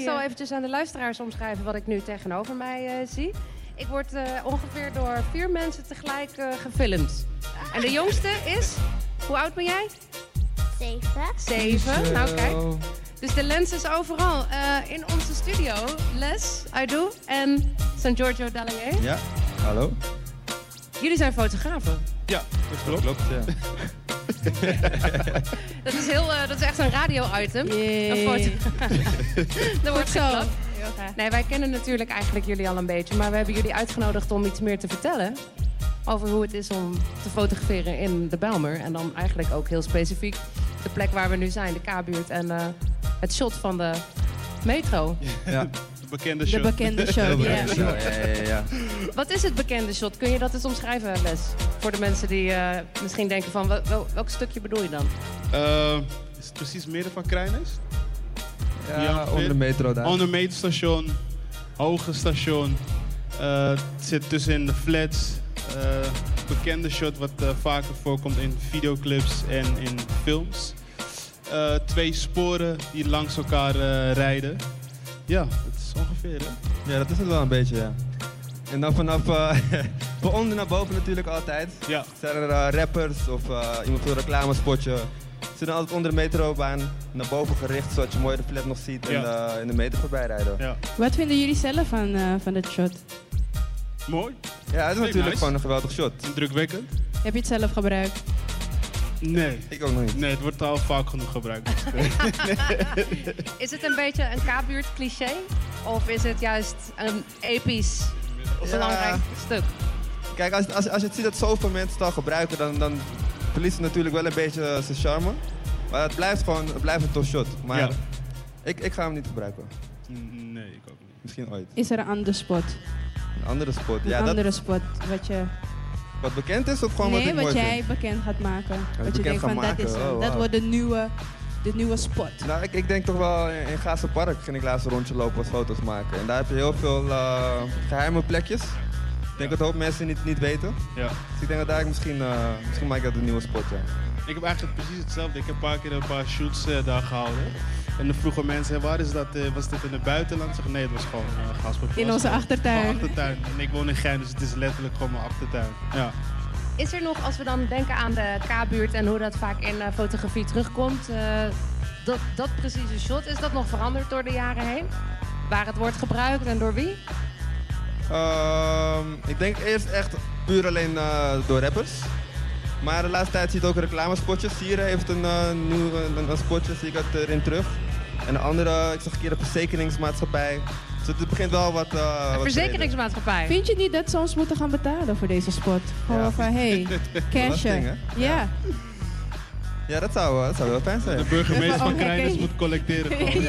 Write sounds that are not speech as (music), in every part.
zal eventjes aan de luisteraars omschrijven wat ik nu tegenover mij eh, zie. Ik word eh, ongeveer door vier mensen tegelijk eh, gefilmd. En de jongste is, hoe oud ben jij? Zeven. Zeven. Nou kijk. Dus de lens is overal. Eh, in onze studio, Les, I Do en San Giorgio Dallaier. Ja, hallo. Jullie zijn fotografen. Ja, dat klopt. ja. Dat is, heel, eh, dat is echt een radio-item. Een foto. (laughs) Dat wordt zo. Nee, wij kennen natuurlijk eigenlijk jullie al een beetje. Maar we hebben jullie uitgenodigd om iets meer te vertellen. Over hoe het is om te fotograferen in de Belmer. En dan eigenlijk ook heel specifiek de plek waar we nu zijn, de K-buurt. En eh, het shot van de metro. Ja. De bekende De show. bekende (laughs) show. Heel ja. bekend. Ja, ja, ja, ja. Wat is het bekende shot? Kun je dat eens omschrijven, Les? Voor de mensen die eh, misschien denken van, wel- wel- welk stukje bedoel je dan? Eh, is het precies midden van Krijnis? Ja, Ja, onder de metro daar. On the main station, hoge station. eh, het zit tussenin de flats. eh, bekende shot wat eh, vaker voorkomt in videoclips en in films. Eh, twee sporen die langs elkaar eh, rijden. Ja, het is ongeveer hè? Ja, dat is het wel een beetje, ja. En dan vanaf, eh, (laughs) van onder naar boven natuurlijk altijd. Ja. Zijn er eh, rappers of eh, iemand voor een reclamespotje. Ze zijn altijd onder de metrobaan naar boven gericht, zodat je mooi de flat nog ziet en Ja. eh, in de metro voorbij rijden. ja. Wat vinden jullie zelf van, eh, van dit shot? Mooi, Ja, het is Hey, natuurlijk nice. gewoon een geweldig shot. indrukwekkend. Heb je het zelf gebruikt? Nee. Ik ook nog niet. Nee, het wordt al vaak genoeg gebruikt. (laughs) dus, eh, Is het een beetje een K-buurt cliché? Of is het juist een episch, belangrijk stuk? Kijk, als, als, als je het ziet dat zoveel mensen het al gebruiken, dan, dan verliest het natuurlijk wel een beetje eh, zijn charme. Maar het blijft gewoon het blijft een tof shot. Maar Ja. ik, ik ga hem niet gebruiken. nee, ik ook niet. Misschien ooit. Is er een andere spot? Een andere spot. Een Ja, dat, andere spot wat je... wat bekend is of gewoon wat nee, ik wat mooi jij vind? bekend gaat maken. wat je bekend denkt ga van dat maken. is hem. Oh, Dat wauw. wordt de nieuwe, de nieuwe spot. Nou, ik, ik denk toch wel in, in Gaza Park ging ik laatst een rondje lopen wat foto's maken. En daar heb je heel veel eh, geheime plekjes. Ik denk dat een hoop mensen niet, niet weten. Ja. Dus ik denk dat daar misschien, eh, misschien maak ik dat een nieuwe spot, ja. Ik heb eigenlijk precies hetzelfde. Ik heb een paar keer een paar shoots eh, daar gehouden. En dan vroegen mensen, "Hé, waar is dat? eh, was dit in het buitenland? Ik Zeg, nee, het was gewoon eh Gasperplas. In onze Mijn achtertuin. achtertuin. En ik woon in Gein, dus het is letterlijk gewoon mijn achtertuin. Ja. Is er nog, als we dan denken aan de K-buurt en hoe dat vaak in eh, fotografie terugkomt, eh, dat, dat precieze shot, is dat nog veranderd door de jaren heen? Waar het wordt gebruikt en door wie? Ehm, ik denk eerst echt puur alleen eh, door rappers. Maar de laatste tijd zie je het ook reclamespotjes. Sire heeft een eh, nieuw een, een spotje, zie ik dat erin terug. En de andere, ik zag een keer een verzekeringsmaatschappij. Dus het begint wel wat... eh, De wat verzekeringsmaatschappij. Vind je niet dat ze ons moeten gaan betalen voor deze spot? Gewoon Ja. van, (laughs) hey, Belasting, cashen. hè? Ja. breder. Ja, dat zou, eh, dat zou wel fijn zijn. De burgemeester van Oh, Krijnis oké. moet (laughs) collecteren. gewoon.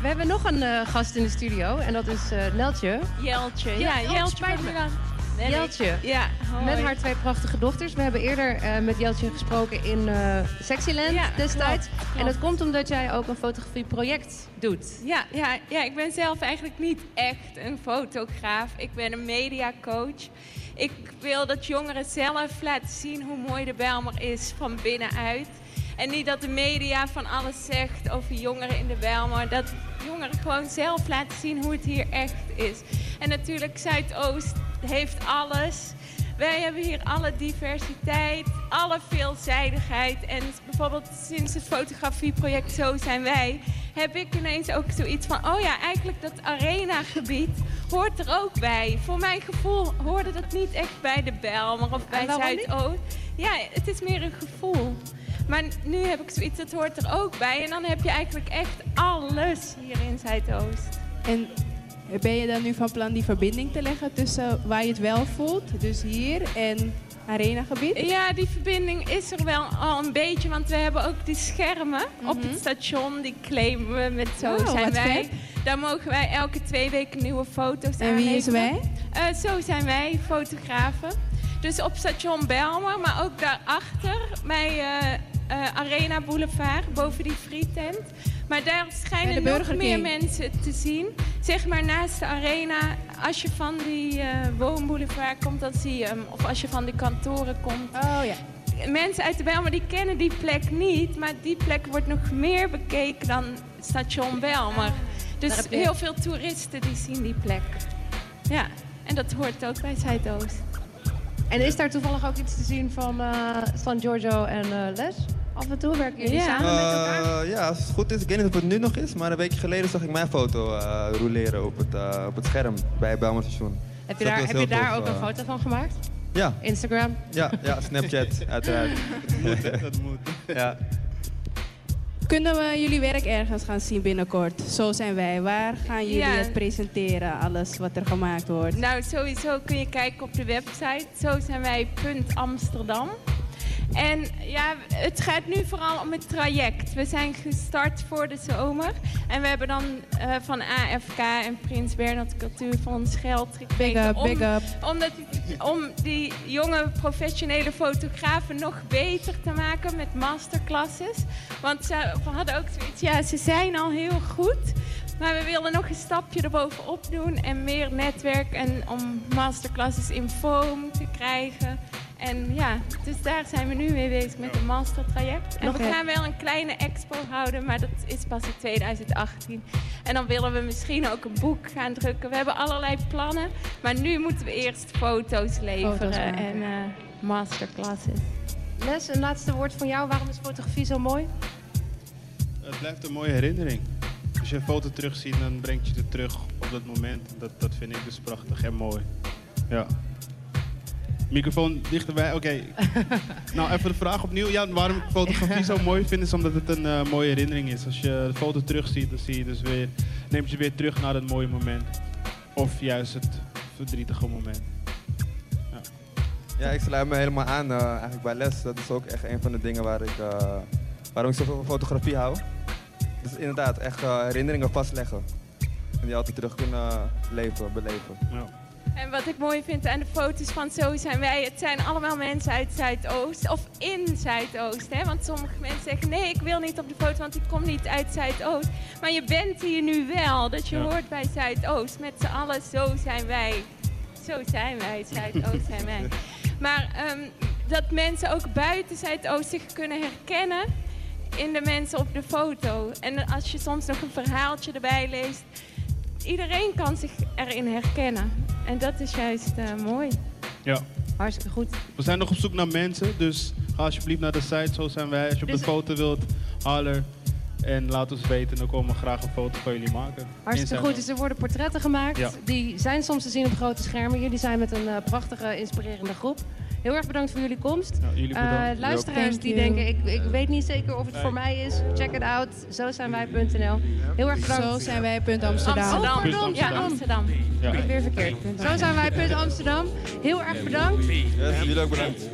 We hebben nog een eh, gast in de studio en dat is eh, Neltje. Jeltje. Ja, Ja, oh, Jeltje spijt van me. Milaan. Nee, Jeltje. ik- Ja, hoi. Met haar twee prachtige dochters. We hebben eerder eh, met Jeltje gesproken in eh Sexyland Ja, destijds. klopt, klopt. En dat komt omdat jij ook een fotografieproject doet. Ja, ja, ja, ik ben zelf eigenlijk niet echt een fotograaf. Ik ben een mediacoach. Ik wil dat jongeren zelf laten zien hoe mooi de Bijlmer is van binnenuit. En niet dat de media van alles zegt over jongeren in de Bijlmer. Dat jongeren gewoon zelf laten zien hoe het hier echt is. En natuurlijk, Zuidoost heeft alles. Wij hebben hier alle diversiteit, alle veelzijdigheid. En bijvoorbeeld sinds het fotografieproject Zo zijn wij... heb ik ineens ook zoiets van... oh ja, eigenlijk dat arena-gebied hoort er ook bij. Voor mijn gevoel hoorde dat niet echt bij de Belmer of bij waarom niet? Zuidoost. Ja, het is meer een gevoel. Maar nu heb ik zoiets, dat hoort er ook bij. En dan heb je eigenlijk echt alles hier in Zuidoost. En ben je dan nu van plan die verbinding te leggen tussen waar je het wel voelt, dus hier en arenagebied? Ja, die verbinding is er wel al een beetje, want we hebben ook die schermen op het station. Die claimen we met Zo Mhm. Oh, zijn wat wij. vet. Daar mogen wij elke twee weken nieuwe foto's En wie is aanleveren. wij? Eh, zo zijn wij, fotografen. Dus op station Belmer, maar ook daarachter bij eh, eh, Arena Boulevard, boven die frietent. Maar daar schijnen Bij de nog Burger meer King. mensen te zien. Zeg maar naast de arena, als je van die eh, woonboulevard komt, dan zie je hem. Of als je van die kantoren komt, Oh ja. mensen uit de Bijlmer die kennen die plek niet, maar die plek wordt nog meer bekeken dan station Belmer. Dus Ah, Daar heb je- heel veel toeristen die zien die plek. Ja, en dat hoort ook bij Zuidoost. En is daar toevallig ook iets te zien van eh, San Giorgio en eh, Les? Af en toe werken jullie Ja. samen met elkaar. Eh, ja, als het goed is, ik weet niet of het nu nog is, maar een week geleden zag ik mijn foto eh roleren op het, eh, op het scherm bij Belmer Station. Heb je dat daar, was heb je heel daar tof, ook een eh. foto van gemaakt? Ja, Instagram? ja, ja Snapchat, (laughs) uiteraard. Dat moet. Ja. Kunnen we jullie werk ergens gaan zien binnenkort? Zo zijn wij. Waar gaan jullie Ja. het presenteren? Alles wat er gemaakt wordt. Nou, sowieso kun je kijken op de website. Zo zijn wij punt Amsterdam. En ja, het gaat nu vooral om het traject. We zijn gestart voor de zomer. En we hebben dan eh, van AFK en Prins Bernhard Cultuurfonds geld Big gekregen. up, om- big up. om, dat, om die jonge professionele fotografen nog beter te maken met masterclasses. Want ze hadden ook zoiets, ja, ze zijn al heel goed. Maar we wilden nog een stapje erbovenop doen en meer netwerk en om masterclasses in foam te krijgen. En ja, dus daar zijn we nu mee bezig met een mastertraject. En Oké. we gaan wel een kleine expo houden, maar dat is pas in 2018. En dan willen we misschien ook een boek gaan drukken. We hebben allerlei plannen, maar nu moeten we eerst foto's leveren Foto's maken. en eh, masterclasses. Les, een laatste woord van jou. Waarom is fotografie zo mooi? Het blijft een mooie herinnering. Als je een foto terugziet, dan brengt je het terug op dat moment. Dat, dat vind ik dus prachtig en mooi. Ja. Microfoon dichterbij, oké. nou, even de vraag opnieuw. Ja, waarom ik fotografie zo mooi vind, is omdat het een eh, mooie herinnering is. Als je de foto terugziet, dan zie je dus weer, neemt je weer terug naar dat mooie moment. Of juist het verdrietige moment. Ja, ik sluit me helemaal aan eh, eigenlijk bij les. Dat is ook echt een van de dingen waar ik, eh, waarom ik zoveel van fotografie hou. Dus inderdaad, echt eh, herinneringen vastleggen. En die altijd terug kunnen eh, leven, beleven. Ja. En wat ik mooi vind aan de foto's van Zo zijn wij, het zijn allemaal mensen uit Zuidoost of in Zuidoost. Hè? Want sommige mensen zeggen: nee, ik wil niet op de foto, want ik kom niet uit Zuidoost. Maar je bent hier nu wel, dat je Ja. hoort bij Zuidoost. Met z'n allen, zo zijn wij. Zo zijn wij, Zuidoost zijn wij. Maar ehm, dat mensen ook buiten Zuidoost zich kunnen herkennen in de mensen op de foto. En als je soms nog een verhaaltje erbij leest, iedereen kan zich erin herkennen. En dat is juist eh, mooi. ja. Hartstikke goed. We zijn nog op zoek naar mensen, dus ga alsjeblieft naar de site. Zo zijn wij. Als je op de Dus- foto wilt, holler. En laat ons weten, dan komen we graag een foto van jullie maken. Hartstikke Inside goed. Dus er worden portretten gemaakt. Ja. Die zijn soms te zien op grote schermen. Jullie zijn met een eh, prachtige, inspirerende groep. Heel erg bedankt voor jullie komst. Out. Nou, jullie Eh, bedankt. luisteraars Thank die you. denken, ik, ik weet niet zeker of het voor mij is. Check it out. Zo zijn wij.nl. Heel erg bedankt. Zo zijn wij, punt Amsterdam. Amsterdam. Punt Ja, Amsterdam. Amsterdam. Ja. Weer verkeerd. Zo zijn wij.Amsterdam. Heel erg bedankt. jullie ook bedankt.